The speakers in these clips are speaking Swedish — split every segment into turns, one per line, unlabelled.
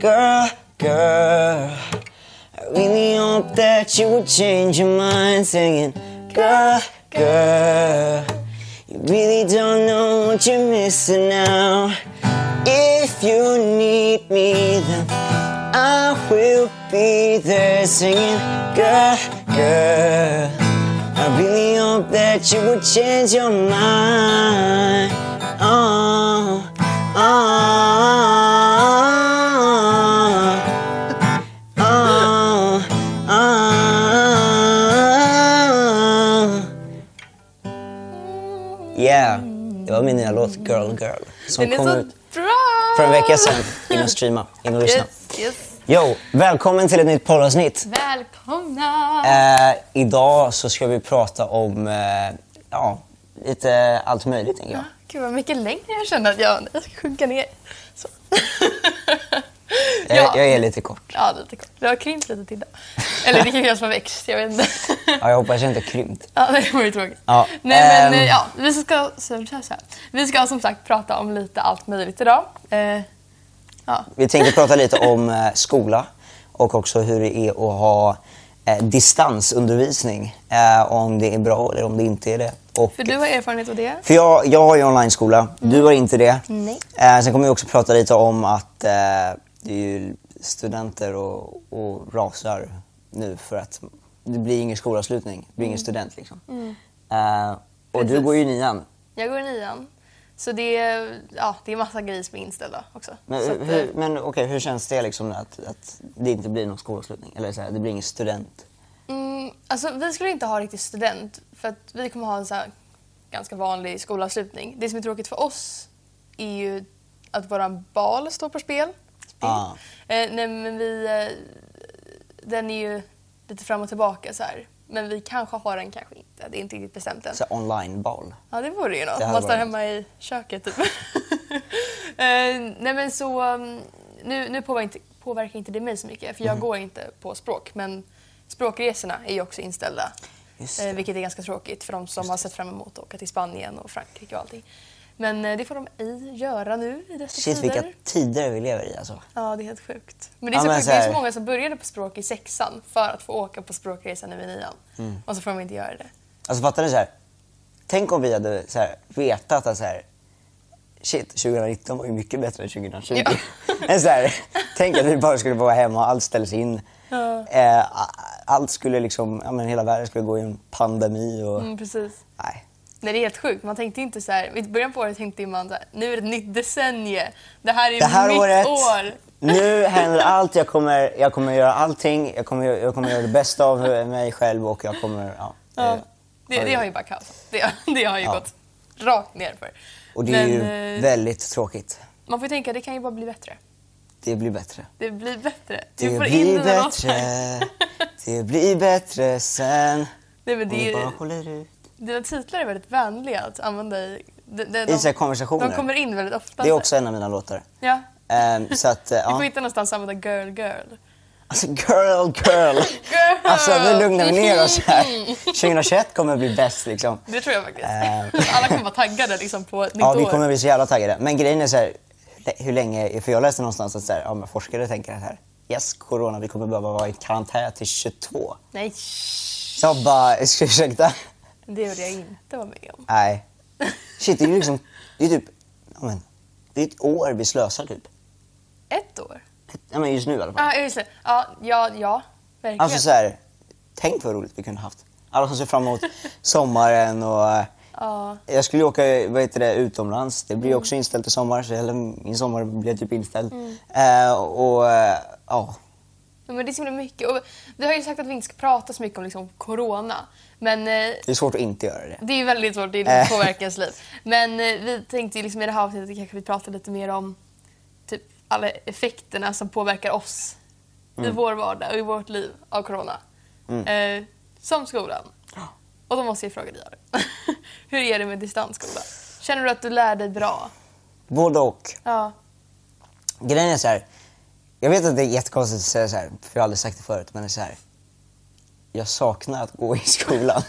Girl, girl, I really hope that you would change your mind singing. Girl, girl, you really don't know what you're missing now. If you need me, then I will be there singing. Girl, girl, I really hope that you would change your mind. Oh, oh. Ah, ah. Yeah, det var min nya låt Girl Girl som
Den är
kom
så
ut
bra!
för en vecka sedan. liksom. In och streama, in och lyssna.
Yes, yes.
Yo, välkommen till ett nytt poddavsnitt.
Välkomna!
Eh, idag så ska vi prata om eh, ja, lite allt möjligt tänker jag.
Gud vad mycket längre jag känner att jag, jag ska sjunka ner. Så.
Jag, jag är lite kort.
Ja, lite kort. Du har krympt lite till då. Eller det är jag som har växt, jag vet inte.
Ja, jag hoppas jag inte har krympt.
Ja, det vore tråkigt.
Ja,
Nej, men
ehm.
eh, ja, vi ska, så, så, så här. Vi ska som sagt prata om lite allt möjligt idag. Eh, ja.
Vi tänkte prata lite om eh, skola och också hur det är att ha eh, distansundervisning. Eh, om det är bra eller om det inte är det. Och,
För du har erfarenhet av det.
för jag, jag har ju online-skola, du har inte det.
Nej.
Eh, sen kommer vi också prata lite om att eh, det är ju studenter och, och rasar nu för att det blir ingen skolavslutning, det blir ingen student liksom. Eh, och du
Mm. Precis.
går ju i nian.
Jag går i nian. Så det är, ja, det är massa grejer som är inställda också.
Men,
Så att, eh,
hur, men okej, hur känns det liksom att, att det inte blir någon skolavslutning? Eller så här, det blir ingen student?
Mm, alltså, vi skulle inte ha riktigt student för att vi kommer ha en så här ganska vanlig skolavslutning. Det som är tråkigt för oss är ju att våran bal står på spel. spel.
Ah.
Eh, nej, men vi, eh, den är ju lite fram och tillbaka så här. Men vi kanske har den, kanske inte. Det är inte riktigt bestämt än.
Så här online-bal.
Ja, det vore ju något.
Det hade
Man står
varit
hemma i köket typ. eh, nej men så, um, nu, nu påverkar, inte, påverkar inte det mig så mycket för jag
Mm.
går inte på språk men språkresorna är ju också inställda.
Just det.
Eh, vilket är ganska tråkigt för de som har sett fram emot att åka till Spanien och Frankrike och allting. Men eh, det får de ej göra nu i dessa
Shit
tider.
vilka tider vi lever i alltså.
Ja, det är helt sjukt. Men det är,
Ja,
så
men
sjukt.
så
det är
här-
så många som började på språk i sexan för att få åka på språkresa nu i nian.
Mm.
Och så får de inte göra det.
Alltså fattar ni så här? Tänk om vi hade så här, vetat att så här, shit 2019 var ju mycket bättre än 2020.
Ja.
Men så här, tänk att vi bara skulle vara hemma och allt ställs in.
Ja.
Eh, a- allt skulle liksom, ja men hela världen skulle gå i en pandemi och
Mm, precis.
nej.
Nej, det är helt sjukt. Man tänkte inte så här, I början på året tänkte man så här, nu är det ett nytt decennium. Det här är
Det här
mitt
året,
år.
nu händer allt. Jag kommer, jag kommer göra allting. Jag kommer, jag kommer göra det bästa av mig själv och jag kommer, ja.
Ja.
eh,
Det, det har ju bara kaos. Det, det har ju
Ja.
gått rakt ner för.
Och det
Men,
är ju
eh,
väldigt tråkigt.
Man får ju tänka, det kan ju bara bli bättre.
Det blir bättre.
Det blir bättre. Du
Det
får in
blir
dina
bättre,
låtar.
det blir bättre sen.
Nej, men
Om
det
vi bara
är,
håller ut.
dina titlar är väldigt vänliga att använda i... De, de,
I så här
de,
konversationer.
de kommer in väldigt ofta.
Det är också en av mina låtar.
Ja.
Ehm, så att, eh,
Du får
ja.
hitta någonstans att använda girl, girl.
Alltså girl, girl.
Girl.
Alltså nu lugnar vi ner oss här. 2021 kommer bli bäst liksom.
Det tror jag faktiskt.
Eh.
Alla kommer vara taggade liksom på nytt
Ja, vi
år.
kommer bli så jävla taggade. Men grejen är så här, hur- hur länge, för jag läste någonstans att så här, ja, men forskare tänker att här, yes, corona, vi kommer behöva vara i karantän till 22.
Nej,
Så jag bara, ursäkta?
det vill jag inte vara med om.
Nej. Shit, det är ju liksom, det är typ, ja, men, det är ett år vi slösar typ.
Ett år?
Ja, men just nu i alla fall.
Ja, just det. Ja, ja, ja verkligen.
Alltså så här, tänk vad roligt vi kunde haft. Alla som ser fram emot sommaren och eh,
ja, Mm.
jag skulle ju åka vad heter det, utomlands. Det blir ju också inställt i sommar, så hela min sommar blev typ inställd. Eh, och eh, ja,
Ja, men det är så himla mycket. Och vi har ju sagt att vi inte ska prata så mycket om liksom, corona, men eh,
det är svårt att inte göra det.
det är ju väldigt svårt. Det
Eh.
är påverkans liv. Men eh, vi tänkte ju liksom, i det här avsnittet kanske vi pratar lite mer om typ, alla effekterna som påverkar oss
Mm.
i vår vardag och i vårt liv av corona. Eh, som skolan. Och då måste jag fråga dig, Aron. Hur är det med distansskola? Känner du att du lär dig bra?
Både och.
Ja.
Grejen är så här, jag vet att det är jättekonstigt att säga så här, för jag har aldrig sagt det förut, men det är så här. Jag saknar att gå i skolan.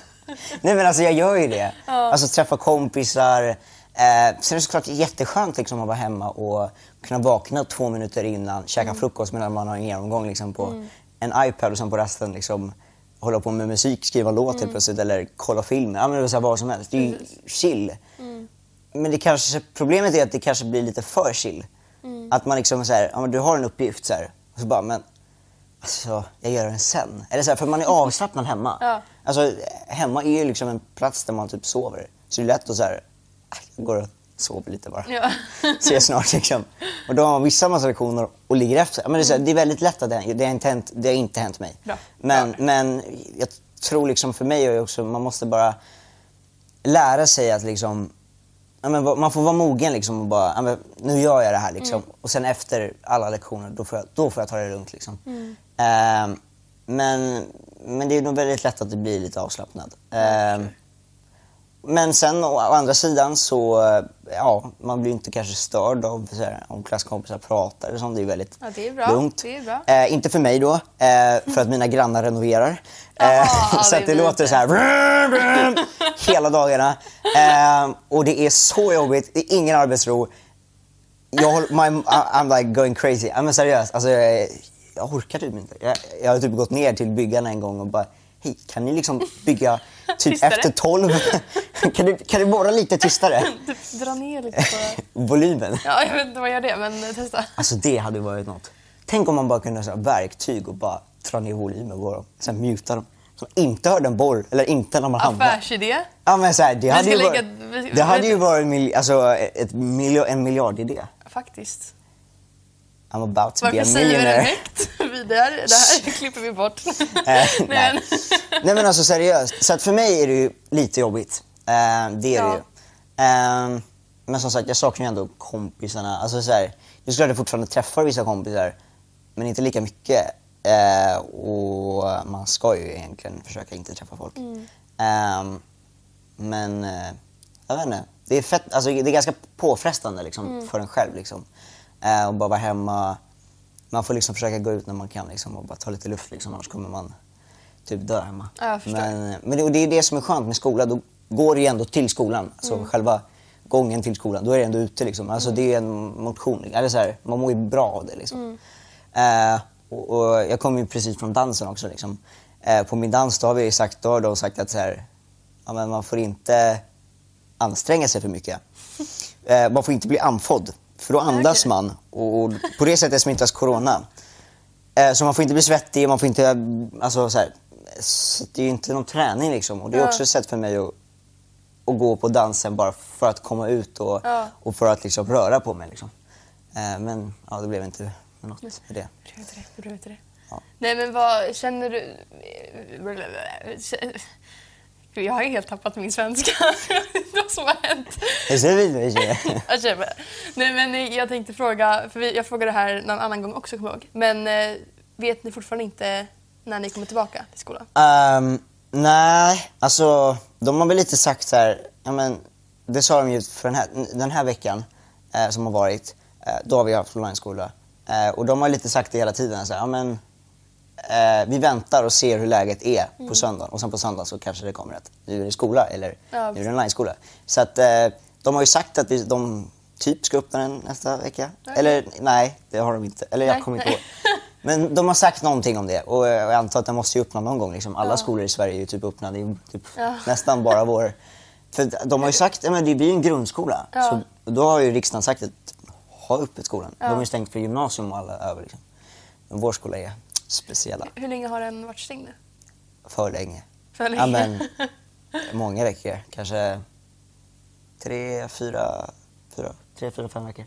Nej men alltså jag gör ju det. Alltså träffa kompisar, Eh, sen är det såklart jätteskönt liksom, att vara hemma och kunna vakna två minuter innan, käka frukost medan man har en genomgång liksom, på en iPad och sen på resten liksom, hålla på med musik, skriva en låt typ, helt plötsligt eller kolla film. Ja, men det är så här, vad som helst. Det är ju chill. Men det kanske, problemet är att det kanske blir lite för chill.
Mm.
Att man liksom så här, ja, men du har en uppgift så här, och så bara, men alltså, jag gör den sen. Eller så här, för man är avslappnad hemma.
Ja.
Alltså, hemma är ju liksom en plats där man typ sover. Så det är lätt att så här, "Ah, jag går och sover lite bara.
Ja.
Ses snart liksom. Och då har man vissa massa lektioner och ligger efter. Men det, är så här, det är väldigt lätt att det, det, har, inte hänt, det har inte hänt mig.
Bra.
Men, men jag tror liksom för mig är det också, man måste bara lära sig att liksom Ja, men va- man får vara mogen liksom och bara, ja, men nu gör jag det här liksom. Och sen efter alla lektioner, då får jag, då får jag ta det lugnt liksom. Ehm, men, men det är nog väldigt lätt att det blir lite avslappnad. Ehm, men sen å, å andra sidan så, eh, ja, man blir inte kanske störd av så här, om klasskompisar pratar eller sånt. Det är väldigt
Ja, det är bra.
lugnt.
Det är bra.
Eh, inte för mig då, eh, för att mina grannar renoverar.
Jaha,
Eh,
ja,
så
det
att det
blir
låter
inte.
så här brum, brum, hela dagarna. Eh, och det är så jobbigt, det är ingen arbetsro. Jag håller, my, I'm like going crazy. Ja, men seriöst, alltså, jag, jag orkar typ inte. Jag, jag har typ gått ner till byggarna en gång och bara, hej kan ni liksom bygga typ
Tystare.
efter tolv? kan, du, kan du borra lite tystare?
Typ dra ner lite på...
Volymen.
Ja, jag vet inte vad jag gör det, men eh, testa.
Alltså det hade ju varit något. Tänk om man bara kunde ha verktyg och bara dra ner volymen på dem, sen muta dem. Så man inte hörde en borr, eller inte när man hamnar.
Affärsidé.
Ja, men så här, det, hade ju
ska
varit,
lägga- vi-
det hade ju
vet-
varit mil, alltså, ett miljo, en miljardidé.
Faktiskt.
I'm about to be a
Varför säger vi det
millionaire.
högt? Vi- Det här, det här klipper vi bort.
Eh,
Men-
nej. nej men alltså seriöst, så att för mig är det ju lite jobbigt. Eh, det är
Ja.
det ju. Eh, men som sagt, jag saknar ju ändå kompisarna. Alltså så här, just klart jag fortfarande träffar vissa kompisar, men inte lika mycket. Eh, och man ska ju egentligen försöka inte träffa folk.
Mm.
Eh, men eh, jag vet inte. Det är, fett, alltså, det är ganska påfrestande liksom,
Mm.
för en själv. Liksom. Eh, och bara vara hemma. Man får liksom försöka gå ut när man kan liksom, och bara ta lite luft. Liksom, annars kommer man typ dö hemma.
Ja, jag förstår.
men men det, och det är det som är skönt med skola. Då går det ju ändå till skolan. Alltså
Mm.
själva gången till skolan. Då är det ändå ute. Liksom. Alltså, Det är en motion. Eller så här, man mår ju bra av det. Liksom.
Mm.
Eh, och, och jag kommer ju precis från dansen också. Liksom. Eh, på min dans då har vi ju sagt, då har de sagt att så här, ja, men man får inte anstränga sig för mycket. Eh, man får inte bli andfådd, för då andas
okej.
man och, och på det sättet smittas corona. Eh, så man får inte bli svettig, man får inte... Alltså, så här, s- det är ju inte någon träning liksom. Och det är
Ja.
också ett sätt för mig att, att gå på dansen bara för att komma ut och,
Ja.
och för att liksom röra på mig. Liksom. Eh, men ja, det blev inte något med det.
Rör inte det, rör inte det.
Ja.
Nej men vad känner du... Gud, jag har ju helt tappat min svenska. Vad som har hänt.
Är det vidare?
Jag känner mig. Nej men jag tänkte fråga, för vi- jag frågade det här någon annan gång också kommer jag ihåg. Men eh, vet ni fortfarande inte när ni kommer tillbaka till skolan?
Ehm, nej, alltså de har väl lite sagt så här, ja, men, det sa de ju för den här, den här veckan eh, som har varit, eh, då har vi haft onlineskola. Eh, och de har lite sagt det hela tiden, så här, ja, men, eh, vi väntar och ser hur läget är
Mm.
på söndagen och sen på söndag så kanske det kommer att nu är det skola eller
Ja,
nu är det onlineskola. Så att eh, de har ju sagt att vi, de typ ska öppna den nästa vecka.
Okej.
Eller nej, det har de inte. Eller jag
Nej,
kommer inte
nej.
ihåg. Men de har sagt någonting om det och eh, jag antar att den måste ju öppna någon gång. Liksom. Alla skolor i Sverige är ju typ öppna. Det är ju typ
Ja.
nästan bara vår... För de har ju sagt att det blir ju en grundskola.
Ja.
Så då har ju riksdagen sagt att ha öppet skolan. De
Ja.
har ju stängt för gymnasium och alla över. Liksom. Men vår skola är speciella.
Hur länge har den varit stängd nu?
För länge.
För länge?
Ja, men, många veckor. Kanske tre, fyra, fyra, tre, fyra fem veckor.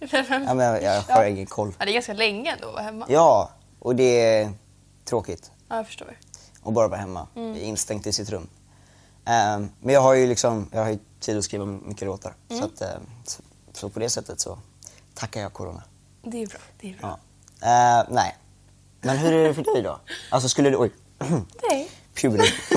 Ja, men jag, jag har
Mm. Ja.
ingen koll.
Ja, det är ganska länge ändå att vara hemma. Ja,
Ja, och det är tråkigt.
jag förstår.
och bara vara hemma, instängt i sitt rum. Ehm, men jag har ju liksom, jag har ju tid att skriva mycket låtar. Så, att, ehm, så, så på det sättet så tackar jag corona.
Det är bra. Det är bra.
Ja. Ehm, nej. Men hur är det för dig då? Alltså skulle du, oj,
Nej.
puberty.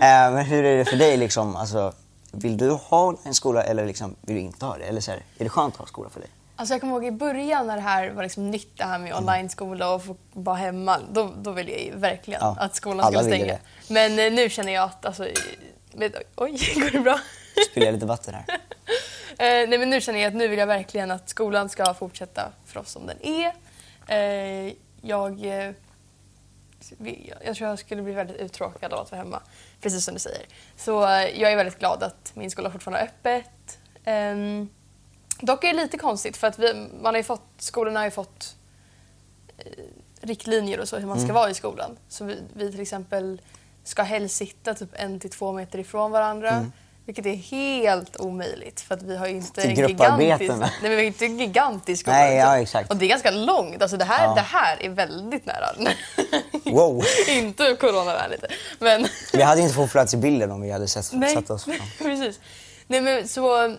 Ehm, men hur är det för dig liksom, alltså vill du ha en skola eller liksom, vill du inte ha det? Eller så här, är det skönt att ha skola för dig?
Alltså jag kommer ihåg i början när det här var liksom nytt, det här med
Mm.
online-skola och få vara hemma. Då, då ville jag ju verkligen
Ja,
att skolan
alla
skulle
ville
stänga. Men eh, nu känner jag att alltså... Med, oj, går det bra?
Spiller jag lite vatten här?
Eh, nej men nu känner jag att nu vill jag verkligen att skolan ska fortsätta för oss som den är. Eh, jag, eh, vi- jag tror jag skulle bli väldigt uttråkad av att vara hemma, precis som du säger. Så eh, jag är väldigt glad att min skola fortfarande har öppet. Ehm, dock är det lite konstigt för att vi, man har ju fått, skolorna har ju fått eh, riktlinjer och så hur man
Mm.
ska vara i skolan. Så vi, vi till exempel ska helst sitta typ en till två meter ifrån varandra. Vilket är helt omöjligt för att vi har ju inte
Mm. Till
en gigantisk,
grupparbeten.
nej, men vi har ju inte en gigantisk skola.
Nej, ja,
liksom.
exakt.
Och det är ganska långt. Alltså det, här,
Ja.
det här är väldigt nära.
Wow.
inte coronavänligt. Men...
Vi hade inte fått plats i bilden om vi hade sett,
Nej,
satt oss.
precis. Nej, men så,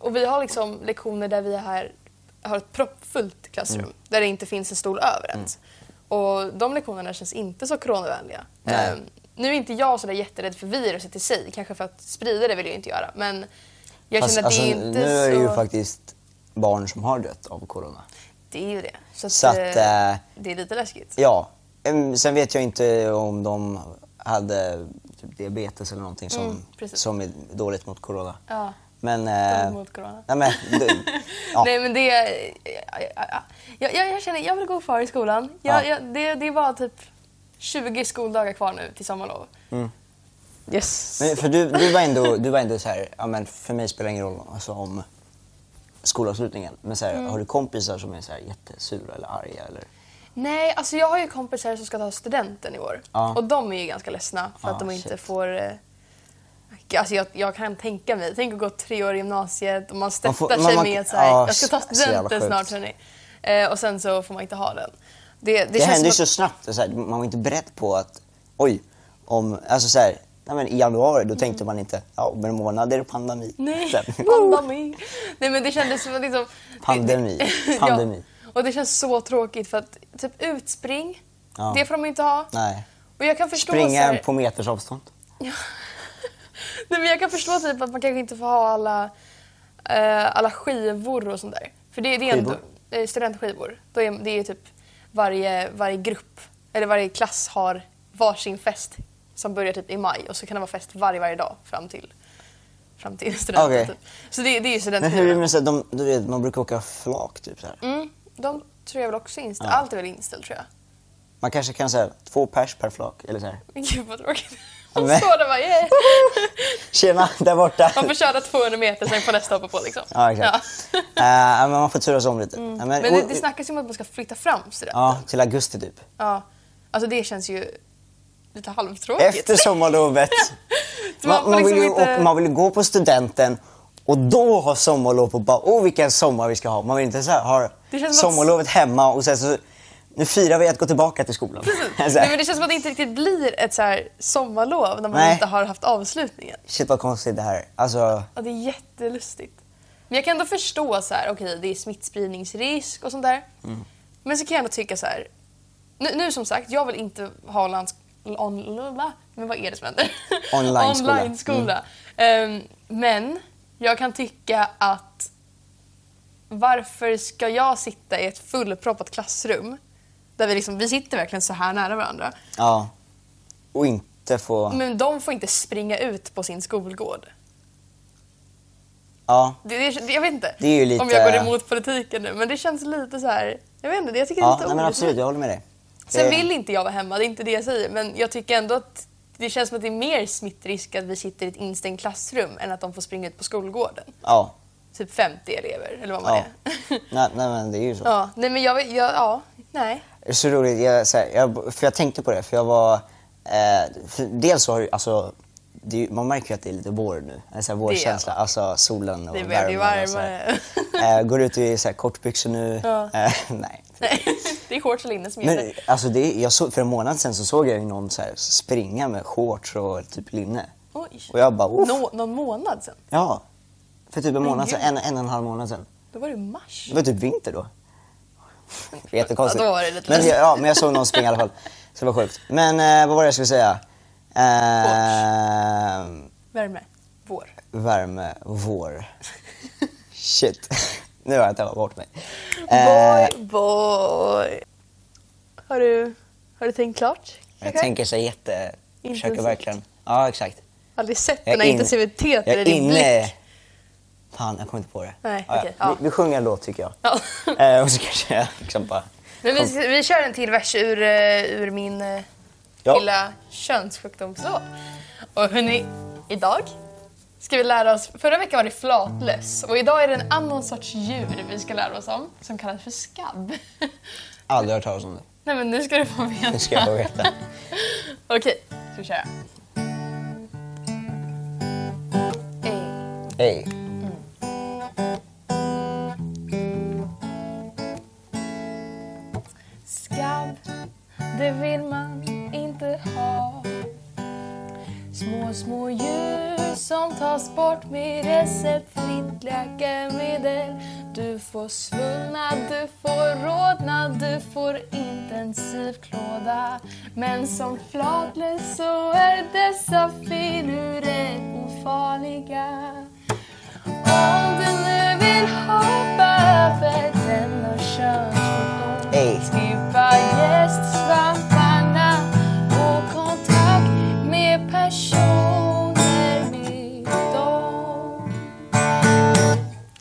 och vi har liksom lektioner där vi här har ett proppfullt klassrum
Mm.
där det inte finns en stol över ens. Och de lektionerna känns inte så coronavänliga.
Nej.
Ehm, nu är inte jag sådär jätterädd för viruset i sig, kanske för att sprida det vill jag inte göra. Men jag
Fast,
känner att det är inte
Alltså, nu är det ju
så...
faktiskt barn som har dött av corona.
Det är ju det. Så, att,
Så att,
eh,
eh,
det är lite läskigt.
Ja, em, sen vet jag inte om de hade typ diabetes eller någonting som,
Mm, precis.
som är dåligt mot corona.
Ja.
Men... eh,
mot corona.
Nej, men, du, ja.
Nej men det... Jag, jag, jag känner, jag vill gå kvar i skolan. Jag,
Ja.
jag, det, det är bara typ 20 skoldagar kvar nu till sommarlov. Yes.
Mm. men, för du, du var ändå, du var ändå så här, ja, men för mig spelar det ingen roll alltså, om skolavslutningen. Men så här,
Mm.
har du kompisar som är så här jättesura eller arga? Eller?
Nej, alltså jag har ju kompisar som ska ta studenten i år.
Ja.
Och de är ju ganska ledsna för att
Ah,
de inte
shit.
får... eh, Alltså jag, jag kan tänka mig, tänk att gå tre år i gymnasiet och man stöttar
Man får-
sig
man- man-
med så här,
ja,
jag ska ta
så- så jävla
studenten snart
sjukt.
hörni. Eh, och sen så får man inte ha den. Det, det,
Det,
känns
hände ju
som
så
att-
snabbt. Så här, man var inte beredd på att, oj, om, alltså så här, nej, men i januari då tänkte man inte, ja, om en månad är det pandemi.
Mm. Nej,
Sen,
pandemi. Nej men det kändes som att liksom...
Pandemi. Pandemi.
ja. Och det känns så tråkigt för att typ utspring,
Ja.
det får de inte ha.
nej.
Och jag kan förstå så
Springa
här,
på meters avstånd.
Nej men jag kan förstå typ att man kanske inte får ha alla, eh, alla skivor och sånt där. För det, det är ändå,
Skivor?
eh, studentskivor. Då är, det är ju typ varje, varje grupp, eller varje klass har varsin fest som börjar typ i maj och så kan det vara fest varje, varje dag fram till, fram till studenten.
Okej.
Typ. Så det, det är ju
Men hur är det
studentskivorna.
med så här, de, du vet, man brukar åka flak typ så här.
Mm, de tror jag väl också är inställda. Allt är väl inställt tror jag.
Man kanske kan säga två pers per flak eller så här.
Men gud vad tråkigt.
Ja,
De
men-
står där och bara yeah.
Tjena, där borta.
Man får köra 200 meter sen får nästa hoppa på liksom.
Ja, exakt.
Ja. Mm.
Eh, men man får turas om lite. Ja, men,
Men det,
och-
det snackas ju om att man ska flytta fram studenten.
Ja, till augusti typ.
Ja. Alltså det känns ju lite halvtråkigt.
Efter sommarlovet.
Så man, får liksom
vill ju,
inte...
och man vill ju gå på studenten och då ha sommarlov och bara åh vilken sommar vi ska ha. Man vill inte så här, ha
Det känns som att-
sommarlovet hemma och sen så nu firar vi att gå tillbaka till skolan. Så här,
Nej, men det känns som att det inte riktigt blir ett så här sommarlov när man
Nej.
inte har haft avslutningen.
Shit vad konstigt det här Alltså,
Ja, det är jättelustigt. Men jag kan ändå förstå så här, okej det är smittspridningsrisk och sånt där. Men så kan jag ändå tycka så här, nu, nu som sagt, jag vill inte ha lands... On, men vad är det som händer?
Online-skola.
Online-skola. Ehm, men jag kan tycka att varför ska jag sitta i ett fullproppat klassrum där vi, liksom, vi sitter verkligen så här nära varandra.
ja. Och inte få...
Men de får inte springa ut på sin skolgård.
Ja.
Det, det, det, jag vet inte
Det är ju lite-
om jag går emot politiken nu, men det känns lite så här... Jag vet inte, jag tycker det är
Ja,
lite
nej, men
orättvist.
absolut, jag håller med dig.
Sen
Det-
vill inte jag vara hemma, det är inte det jag säger, men jag tycker ändå att det känns som att det är mer smittrisk att vi sitter i ett instängt klassrum än att de får springa ut på skolgården.
Ja.
Typ 50 elever, eller vad man
ja.
är.
nej, nej, men det är ju så.
ja, nej men jag, vet- jag ja, nej.
Det är så roligt, jag, så här, jag, för jag tänkte på det, för jag var... Eh, för dels så har ju, alltså, det är, ju- man märker ju att det är lite vår nu, en så här vårkänsla,
Det
alltså solen och
Det börjar bli
värmen alltså. och så här.
varmare.
Eh, går ut i så här, kortbyxor nu.
Ja.
Eh, nej.
Nej, det är shorts och linne som
Men
gäller.
alltså, det, är- jag såg, för en månad sedan så såg jag ju någon så här, springa med shorts och typ linne.
Oj.
Och jag bara, Uff,
Nå, någon månad sen?
Ja. För typ en månad sedan,
gud.
en, en och en halv månad sedan.
Då var det mars.
Det var typ vinter då. Jättekonstigt.
Ja, då var det lite
men,
läskigt.
jag- ja, men jag såg någon springa i alla fall. Så det var sjukt. Men eh, vad var det jag skulle säga? Eh,
Värme. Vår.
värme, vår. Shit. nu har jag tappat bort mig. Eh,
Boy, boy. Har du, har du tänkt klart?
jag
kanske?
tänker så jätte... Försöker
Intensivt.
verkligen. Ja, exakt.
Aldrig sett
Jag är
den här
in-
intensiteten
Jag
i
är
din
inne
blick.
Fan, jag kommer inte på det.
Nej,
Ah, ja.
okej, ja.
vi, vi sjunger en låt tycker jag.
Ja.
Eh, och så kanske jag liksom bara...
Men vi, ska- vi kör en till vers ur, eh, ur min eh,
Ja.
lilla könssjukdomsår. Och hörni, idag ska vi lära oss... Förra veckan var det flatlöss och idag är det en annan sorts djur vi ska lära oss om som kallas för skabb.
Aldrig hört talas om det.
Nej men nu ska du få veta.
Nu ska jag få veta.
Okej, ska vi köra? Ey.
Hej.
Skabb, det vill man inte ha Små, små djur som tas bort med receptfritt läkemedel Du får svullnad, du får rodnad, du får intensiv klåda Men som flatlös så är dessa filurer ofarliga Om du nu vill hoppa över denna
Oh.
könssjukdom
Ey.
Skippa gästsvamparna och kontakt med personer med dem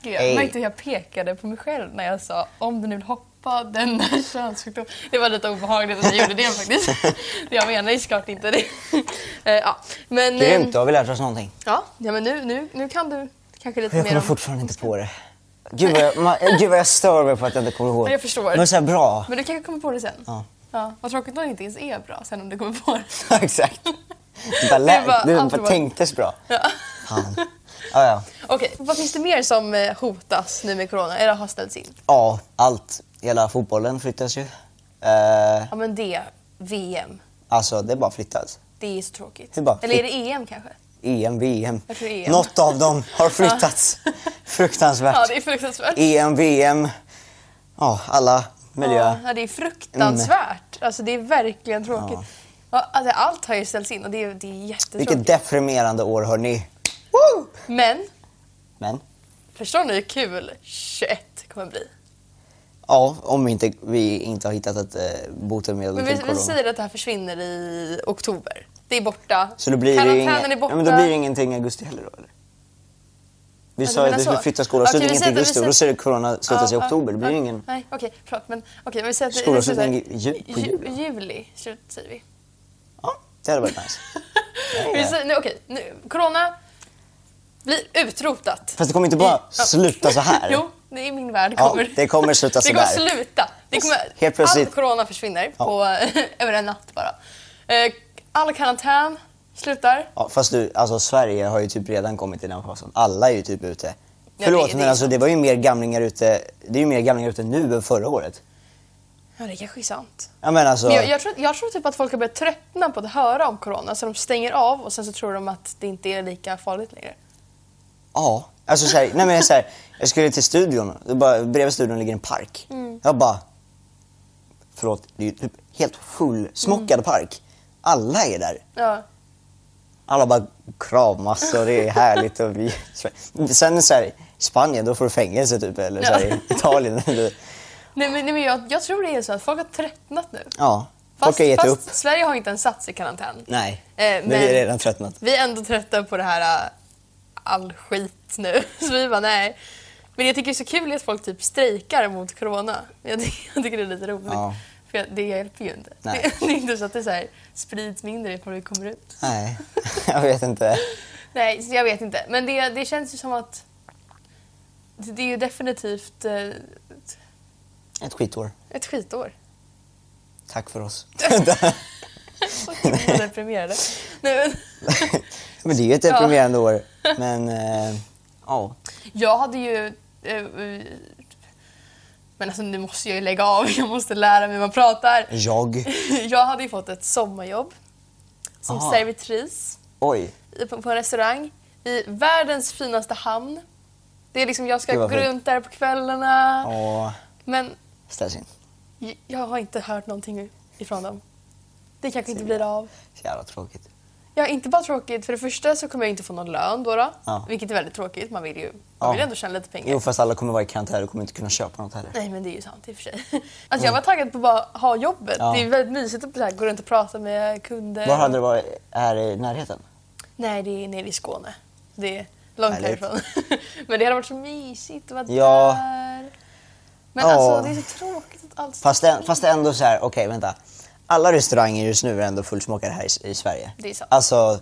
Gud, jag
Ey.
märkte hur jag pekade på mig själv när jag sa om du nu vill hoppa denna könssjukdom. Det var lite obehagligt att jag gjorde det faktiskt. Jag menar ju såklart inte det. Eh, ja. men, ehm,
Grymt, då har vi lärt oss någonting.
Ja, ja men nu, nu, nu kan du kanske lite
Jag
mer
kommer
om...
fortfarande inte på det. Gud vad, jag, ma- gud vad jag stör mig på att jag inte kommer ihåg.
Jag förstår.
Men så här bra.
Men du kanske kommer på det sen?
Ja.
ja. Vad tråkigt om det inte ens är bra sen om du kommer på det.
Ja, Exakt. Det bara, lät,
bara-
det bara,
allt var-
tänktes bra.
Ja.
Fan. Ja, ja.
Okej, vad finns det mer som eh, hotas nu med corona eller har ställts in?
ja, allt. Hela fotbollen flyttas ju. Eh,
Ja men det, VM,
alltså, det är bara flyttas. E
det är så tråkigt.
Det är bara-
eller är det EM kanske?
EM, VM.
Jag tror E EM.
Något av dem har flyttats. Fruktansvärt. E
Ja det är fruktansvärt.
EM, VM. Ja, alla miljö.
Ja, det är fruktansvärt.
Mm.
Alltså det är verkligen tråkigt. Ja. Alltså, allt har ju ställts in och det är, det är jättetråkigt.
Vilket deprimerande år, hörni. Woo!
Men,
Men,
förstår ni hur kul 21 kommer bli?
ja, om vi inte, vi inte har hittat ett eh, botemedel
Men vi,
till
vi
corona.
säger att det här försvinner i oktober. Det är borta.
Så då blir det
Karantänen
inga,
är borta.
ja, men då blir det ingenting i augusti heller då, eller? Vi
du
sa ju att
menar
vi skulle
så?
flytta skolavslutningen
Okej, vi
till augusti
säger- vi
och då
säger-
säger corona slutas i
Ja,
oktober. Det blir ju
ja,
ingen...
Nej, okej, förlåt. Men, okej, men vi säger att det-
Skolavslutning
vi säger så här,
i ju- på jul,
ju- Juli, slut, säger vi.
Ja, det hade varit nice.
vi säger, nu, okej, nu, corona blir utrotat.
Fast det kommer inte bara
Ja.
sluta så här.
Jo, det är min värld.
Ja,
Kommer.
det kommer sluta
det kommer
sådär.
sluta. Det kommer,
Helt plötsligt.
All corona försvinner
Ja.
på, över en natt bara. Eh, All karantän slutar.
Ja, fast du, alltså Sverige har ju typ redan kommit i den fasen. Alla är ju typ ute.
det-
Förlåt
det är
men alltså det var ju mer gamlingar ute, det är ju mer gamlingar ute nu än förra året.
Ja, det kanske är sant.
Ja men alltså,
Men jag, jag, tror, jag tror typ att folk har börjat tröttna på att höra om corona så de stänger av och sen så tror de att det inte är lika farligt längre.
ja. Alltså så här, nej men så här, jag skulle till studion, och bara, bredvid studion ligger en park.
Mm.
Jag bara, förlåt, det är ju typ helt fullsmockad
Mm.
park. Alla är där.
Ja.
Alla bara kramas och det är härligt. Och vi... Sen så här, Spanien, då får du fängelse typ, eller så här,
Ja.
Italien. eller-
Nej men, nej, men jag, jag tror det är så att folk har tröttnat nu.
Ja, folk har gett upp.
fast Sverige har inte ens satt sig i karantän.
Nej,
Eh,
men... vi är
men-
redan tröttnat.
Vi är ändå trötta på det här äh, all skit nu. Så vi bara nej. Men jag tycker det är så kul att folk typ strejkar mot corona. Jag tycker, jag tycker det är lite roligt.
Ja.
För jag- det hjälper ju inte.
Nej.
Det, det är inte så att det så här, sprids mindre ifall vi kommer ut.
Nej, jag vet inte.
Nej, så jag vet inte. Men det, det känns ju som att det det är ju definitivt eh, ett-
Ett skitår.
ett skitår.
Tack för oss.
Så himla deprimerade. Nej, men,
men det är ju ett deprimerande år. Men, eh, ja.
jag hade ju... eh, eh, Men alltså nu måste jag ju lägga av. Jag måste lära mig hur man pratar.
Jag.
Jag hade ju fått ett sommarjobb som
Aha.
servitris
Oj.
i- på på en restaurang i världens finaste hamn. Det är liksom, jag ska
Gud,
gå
vad fint.
runt där på kvällarna.
Ja,
Men
ställs in.
j- jag har inte hört någonting ifrån dem. Det kanske inte blir av.
Så jävla tråkigt.
Ja, inte bara tråkigt. För det första så kommer jag inte få någon lön då. då
Ja.
Vilket är väldigt tråkigt. Man vill ju
Ja.
man vill ändå tjäna lite pengar.
Jo, fast alla kommer vara i karantän och kommer inte kunna köpa något heller.
Nej men det är ju sant i och för sig. Alltså jag var taggad på att bara ha jobbet.
Mm. Ja.
Det är väldigt mysigt att så här, gå runt och prata med kunder.
Var hade det varit? Här i närheten?
Nej, det är nere i Skåne. Det är Långt
Härligt.
härifrån. Men det hade varit så mysigt att vara
Ja.
där. Men
Ja.
alltså det är så tråkigt att allt
Fast,
står
ä- fast ändå så här, okej vänta. Alla restauranger just nu är ändå fullsmockade här i, i Sverige.
Det är sant.
Alltså,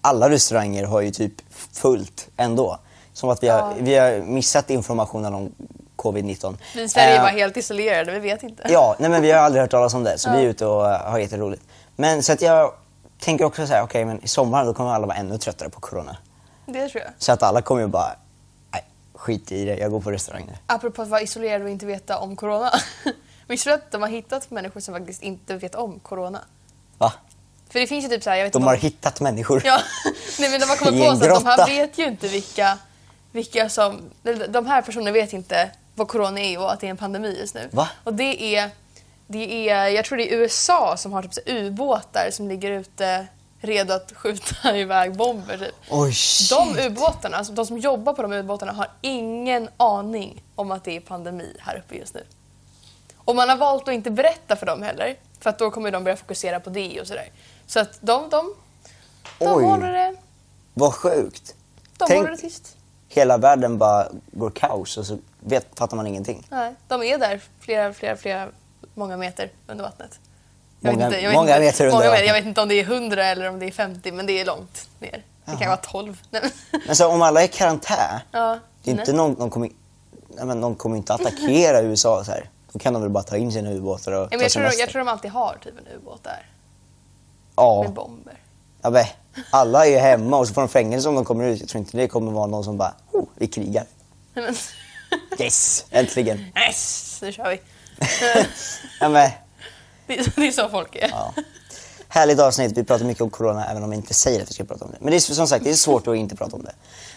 alla restauranger har ju typ fullt ändå. Som att vi har,
Ja.
vi har missat informationen om covid-19.
Vi i Sverige
Eh,
var helt isolerade, vi vet inte.
Ja, nej men vi har aldrig hört talas om det så
Ja.
vi är ute och eh, har jätteroligt. Men så att jag tänker också så här, okej men i sommar då kommer alla vara ännu tröttare på corona.
Det tror jag.
Så att alla kommer ju bara, nej skit i det, jag går på restaurang nu.
Apropå att vara isolerad och inte veta om corona. Visste du att de har hittat människor som faktiskt inte vet om corona?
Va?
För det finns ju typ så här, jag vet
De
inte
har
om-
hittat människor.
Ja, nej men de har kommit
I
på
en
så att de här
grotta.
vet ju inte vilka, vilka som... De här personerna vet inte vad corona är och att det är en pandemi just nu.
Va?
Och det är, det är... Jag tror det är USA som har typ så här ubåtar som ligger ute redo att skjuta iväg bomber typ.
Oj, shit.
De ubåtarna, alltså de som jobbar på de ubåtarna har ingen aning om att det är pandemi här uppe just nu. Och man har valt att inte berätta för dem heller, för att då kommer de börja fokusera på det och sådär. Så att de, de, de
Oj.
håller det,
Vad sjukt.
de
Tänk-
håller det tyst.
Hela världen bara går kaos och så vet, fattar man ingenting.
Nej, de är där flera, flera, flera, många meter under vattnet.
Många- många meter under
många,
vattnet.
Jag vet inte om det är 100 eller om det är 50, men det är långt ner. Det kan
Jaha.
vara 12. Nej, men-
Men så om alla är i karantän,
ja,
det är inte
nej.
någon, någon kommer nej, men de kommer inte attackera USA så här. Då kan de väl bara ta in sina ubåtar och
Ja, men
ta
jag, tror,
semester.
jag tror de alltid har typ en ubåt där, med
ja.
bomber.
ja, men alla är ju hemma och så får de fängelse om de kommer ut. Jag tror inte det kommer vara någon som bara, oh, vi krigar.
Nej, men...
Yes, äntligen.
Yes, nu kör vi.
Ja, men,
det, är, det är så folk är.
ja. Härligt avsnitt. Vi pratar mycket om corona även om vi inte säger att vi ska prata om det. Men det är som sagt det är svårt att inte prata om det.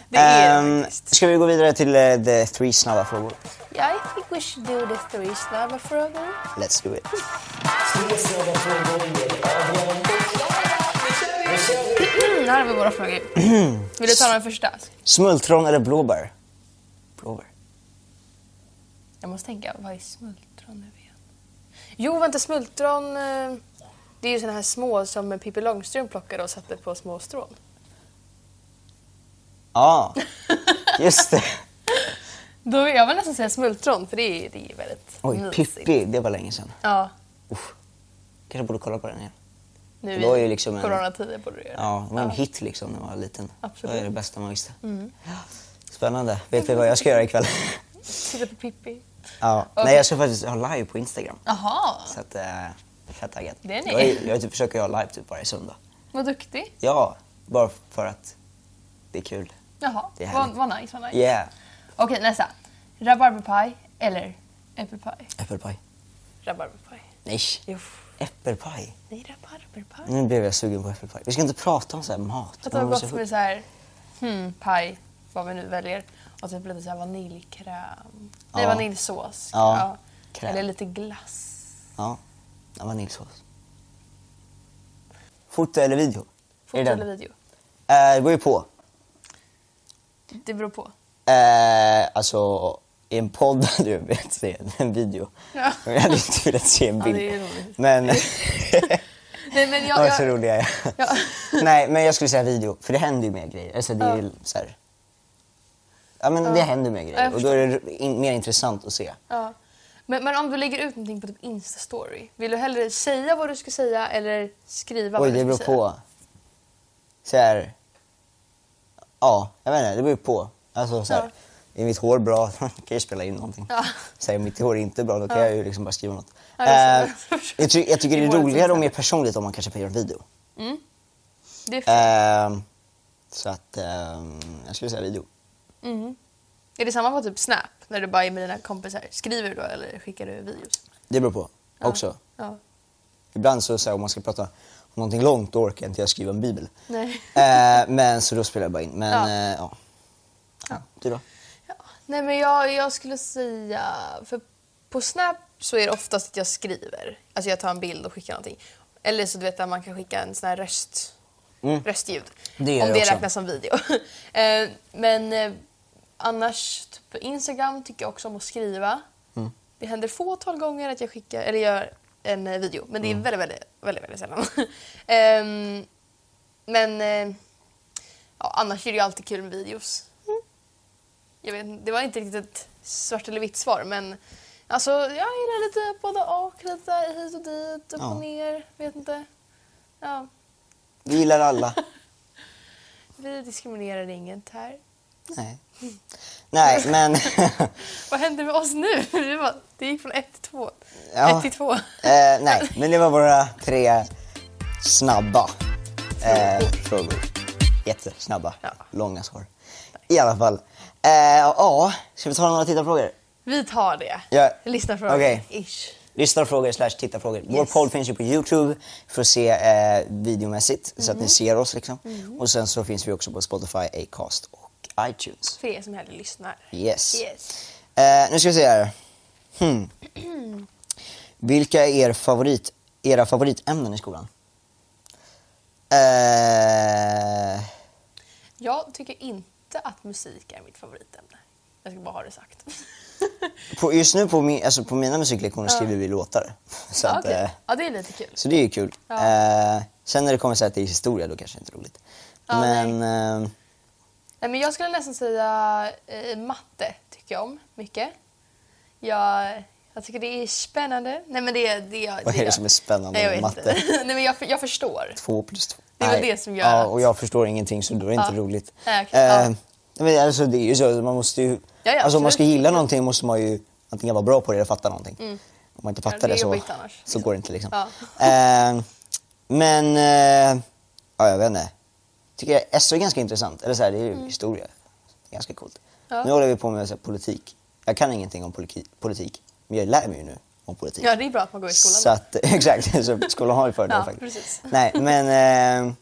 Det är det
Ehm,
faktiskt.
Ska vi gå vidare till eh, the three snabba frågor?
Yeah, I think we should do the three snabba frågor.
Let's do it.
Mm, här har vi våra frågor. Vill du ta den första?
Smultron eller blåbär? Blåbär.
Jag måste tänka, vad är smultron nu igen? Jo, vänta, smultron... eh, Det är ju såna här små som Pippi Långstrump plockade och satte på små strån.
Ja, just det.
Då vill jag vill nästan säga smultron, för det är, det är väldigt
Oj,
mysigt.
Pippi, det var länge sedan.
Ja,
Uff. Kanske borde kolla på den igen.
nu
Det var
i
ju liksom en-
coronatider borde du göra.
Ja, det var en hit liksom när man var liten.
Absolut. Mm.
Det var det bästa man visste. Spännande. Vet vi vad jag ska göra ikväll?
Titta på Pippi.
Ja.
Okej.
Nej, jag ska faktiskt ha live på Instagram.
Jaha,
Så att, eh, fett taggad.
Det är ni.
Jag, är- jag typ försöker göra live typ varje söndag.
vad duktig.
Ja, bara för att det är kul.
Jaha,
Det är
vad,
härligt.
vad nice. Vad nice.
Yeah.
Okej, nästa. Rabarberpaj eller äppelpaj?
Äppelpaj.
Rabarberpaj.
Nej,
Jo,
äppelpaj.
nej rabarberpaj.
Nu blev jag sugen på äppelpaj. Vi ska inte prata om Mm. så här mat.
Att det
Man
var
måste
gott
få-
med så här, hmm, paj, vad vi nu väljer. Och typ lite så här vaniljkräm. Nej,
Ja.
vaniljsås.
Ja, kräm.
Eller lite glass.
Ja, Ja, vaniljsås. Foto eller video?
Foto
Är det den?
eller video?
Eh, det beror ju på.
Det beror på.
Eh, alltså, i en podd hade jag velat se en video.
Ja.
Men jag hade inte velat se en
Ja,
bild.
det är roligt.
men,
Nej, men jag...
vad så
jag
rolig jag är.
Ja.
Nej, men jag skulle säga video. För det händer ju mer grejer. Alltså, det är ju så här, ja, men det händer mer
Ja, jag
grejer. Och då är det in, mer intressant att se.
ja. men, men om du lägger ut någonting på typ Insta-story, vill du hellre säga vad du ska säga eller skriva
Oj,
vad du
det
ska
beror
säga?
på. Så här. Ja, jag vet inte, det beror på. Alltså så här. Är mitt hår bra, då kan jag ju spela in någonting.
Ja.
Så här, är mitt hår inte bra, då kan jag ju liksom bara skriva något.
Ja, jag
Eh,
förstår.
jag, ty- jag tycker det
I
är
håret, till
roligare och mer
exempel.
personligt om man kanske får göra en video.
Mm. Det är fint.
Eh, så att ehm, jag skulle säga video.
Är det samma på typ Snap? När du bara är med dina kompisar. Skriver du då eller skickar du videos?
Det beror på också.
Ja.
Ibland så, så här, om man ska prata om någonting långt då orkar inte jag skriva en bibel.
Nej.
Eh, men så då spelar jag bara in. Men
Ja.
ja. ja. ja. Du då?
Ja. Nej men jag, jag skulle säga... För på Snap så är det oftast att jag skriver. Alltså jag tar en bild och skickar någonting. Eller så du vet att man kan skicka en sån här röst, röstljud.
Mm. Det gör
om
jag
det
också.
räknas som video. eh, men eh, annars, typ på Instagram tycker jag också om att skriva.
Mm.
Det händer fåtal gånger att jag skickar, eller gör en eh, video. Men det är
Mm.
väldigt, väldigt, väldigt, väldigt sällan. Ehm, men eh, ja, annars är det ju alltid kul med videos.
Mm.
Jag vet, inte, det var inte riktigt ett svart eller vitt svar men alltså jag gillar lite både och, lite hit och dit, upp
Ja.
och ner, vet inte. Ja,
Vi gillar alla.
vi diskriminerar inget här.
Nej. Nej, men... eh,
Vad händer med oss nu? Det, var, det gick från ett till två.
Ja.
Ett till två.
Eh, nej, men det var våra tre snabba eh, frågor. Jättesnabba,
Ja.
långa svar. I alla fall. Eh, ja, ska vi ta några tittarfrågor?
Vi tar det.
Ja.
Lyssna från
Okej.
ish.
Lyssnarfrågor slash tittarfrågor. Vår
Yes.
poll finns ju på Youtube för att se eh, videomässigt så att
Mm-hmm.
ni ser oss liksom. Och sen så finns vi också på Spotify, Acast och iTunes.
För er som hellre lyssnar.
Yes.
Yes.
Eh, nu ska vi se här. Hmm. Vilka är er favorit, era favoritämnen i skolan? Eh,
Jag tycker inte att musik är mitt favoritämne. Jag ska bara ha det sagt.
på, just nu på, min, alltså på mina musiklektioner skriver vi låtar. Så,
ja,
att,
okej.
eh,
ja, det är lite kul.
så det är ju kul.
Ja.
Eh, sen när det kommer så här till historia, då kanske det inte är roligt.
Ja,
Men eh,
Nej, men jag skulle nästan säga eh, matte tycker jag om mycket. Jag, jag tycker det är spännande. Nej, men det, det,
Vad är det som är spännande
Nej, jag
med
vet
matte?
inte. Nej, men jag, jag förstår.
två plus två.
Det var
Nej.
det som gör
Ja,
att-
och jag förstår ingenting så då är det inte
Ja.
roligt.
Nej, okej. Ja.
Eh, men alltså, det är ju så, man måste ju...
Ja, ja,
alltså om man ska
absolut. Mm.
gilla någonting måste man ju antingen vara bra på det eller fatta någonting. Om man inte fattar
det är
det, så,
jobbigt annars,
så
liksom.
går det inte liksom.
Ja.
Eh, men, eh, ja jag vet inte. Tycker jag SO är ganska intressant. Eller så här, det är ju historia. Det är ganska coolt.
Mm. Ja.
Nu håller vi på med så här, politik. Jag kan ingenting om politi- politik, men jag lär mig ju nu om politik.
Ja, det är bra att man går i skolan.
Så att, exakt, så skolan har ju fördelar
Ja,
faktiskt.
precis.
Nej, men, eh,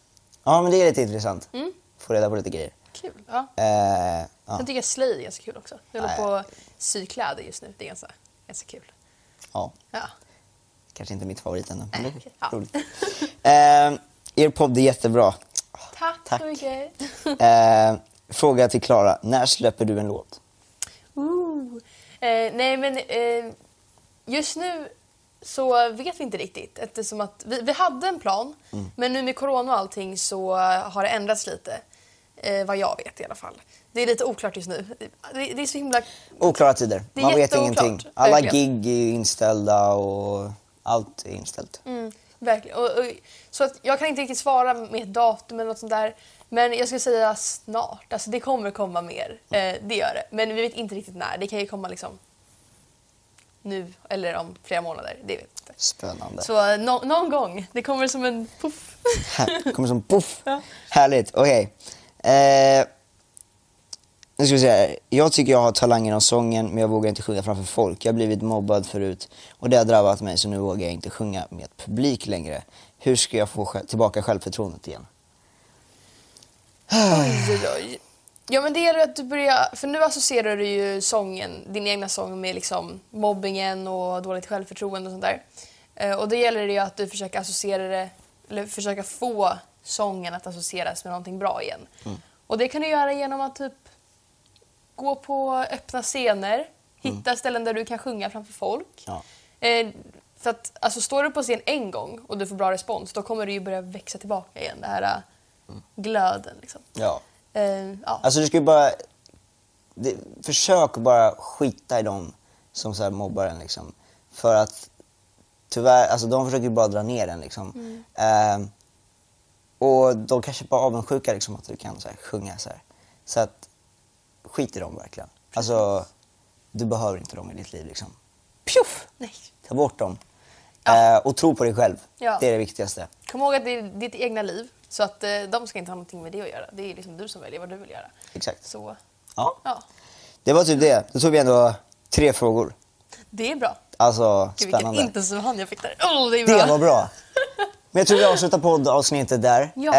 ja, men det är lite intressant.
Mm.
Få reda på lite grejer.
Kul. Ja.
Eh, ja,
Sen tycker jag slöjd är ganska kul också. Jag håller
Nej.
på att sy kläder just nu. Det är ganska, ganska kul.
ja,
Ja.
kanske inte mitt favorit ändå. Men det
Nej,
är
okej. Ja.
roligt. Eh, er podd är jättebra.
Tack,
Tack.
så mycket.
Eh, fråga till Klara, när släpper du en låt?
Ooh. Eh, nej, men eh, just nu så vet vi inte riktigt. Eftersom att vi, vi hade en plan, men nu med corona och allting så har det ändrats lite. Eh, vad jag vet i alla fall. Det är lite oklart just nu. Det, det är så himla...
Oklara tider.
Det är
Man vet
jätteoklart,
ingenting. Alla
verkligen.
gig är ju inställda och allt är inställt.
Mm, verkligen. Och, och, så att jag kan inte riktigt svara med ett datum eller något sånt där. Men jag skulle säga snart. Alltså det kommer komma mer. Eh, det gör det. Men vi vet inte riktigt när. Det kan ju komma liksom nu eller om flera månader. Det vet vi inte.
Spännande.
Så eh, nå- någon gång. Det kommer som en puff.
Här, kommer som poff.
Ja.
Härligt, okej. Eh, nu ska vi se här. Jag tycker jag har talangen av sången men jag vågar inte sjunga framför folk. Jag har blivit mobbad förut och det har drabbat mig så nu vågar jag inte sjunga med publik längre. Hur ska jag få sj- tillbaka självförtroendet igen?
Oj, oj. Ja men det gäller att du börjar, för nu associerar du ju sången, din egna sång med liksom mobbingen och dåligt självförtroende och sånt där. Eh, Och då gäller det ju att du försöker associera det, eller försöka få sången att associeras med någonting bra igen. Och det kan du göra genom att typ gå på öppna scener, hitta ställen där du kan sjunga framför folk.
Ja.
Eh, för att, alltså, står du på scen en gång och du får bra respons, då kommer du ju börja växa tillbaka igen, den här eh, glöden. Liksom.
ja.
Eh, ja.
Alltså du ska ju bara... Det, försök att bara skita i dem som så här mobbar en liksom. För att tyvärr, alltså de försöker ju bara dra ner en liksom.
Mm.
Ehm, och de kanske bara är avundsjuka liksom att du kan så här, sjunga så här. Så att skit i dem verkligen. Alltså, du behöver inte dem i ditt liv liksom.
Pjuff! Nej.
Ta bort dem.
Ja.
Eh, och tro på dig själv.
Ja.
Det är det viktigaste.
Kom ihåg att det är ditt egna liv, så att eh, de ska inte ha någonting med det att göra. Det är liksom du som väljer vad du vill göra.
Exakt.
Så,
Ja.
ja.
Det var typ det. Då tog vi ändå tre frågor.
Det är bra.
Alltså,
Gud, vilken
spännande.
intensiv hand jag fick där. Oh, det är bra.
Det var bra. Men jag tror vi avslutar poddavsnittet där.
Ja.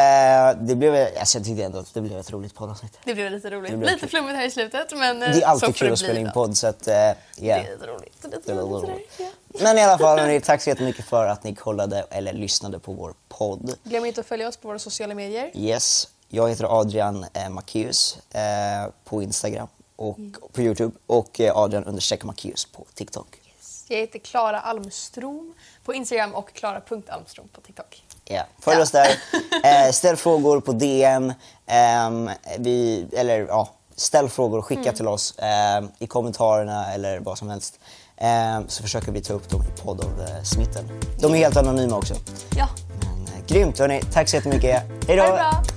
Eh, det blev, alltså jag tyckte ändå att det blev ett roligt poddavsnitt.
Det blev lite roligt.
Det blev
lite
kul.
flummigt här i slutet, men eh,
Det är
så
alltid
får
kul
det
att
bli
spela in
då.
podd så att, eh, yeah.
Det är lite roligt. Det
Det
är
var
lite
roligt.
roligt. sådär, ja.
Men i alla fall, hörni, tack så jättemycket för att ni kollade eller lyssnade på vår podd.
Glöm inte att följa oss på våra sociala medier.
Yes, jag heter Adrian eh, Macéus eh, på Instagram och på Youtube och eh, Adrian understreck Macéus på TikTok.
Jag heter Klara Almstrom på Instagram och klara.almstrom på TikTok.
Ja, Följ
Ja.
oss där. Eh, ställ frågor på DM. ehm, vi, eller ja, ställ frågor och skicka
Mm.
till oss ehm, i kommentarerna eller vad som helst. Ehm, så försöker vi ta upp dem i podd av eh, smitten. De är helt anonyma också.
Ja.
Men, eh, grymt hörni, tack så jättemycket. Hej
Ha det bra.
då!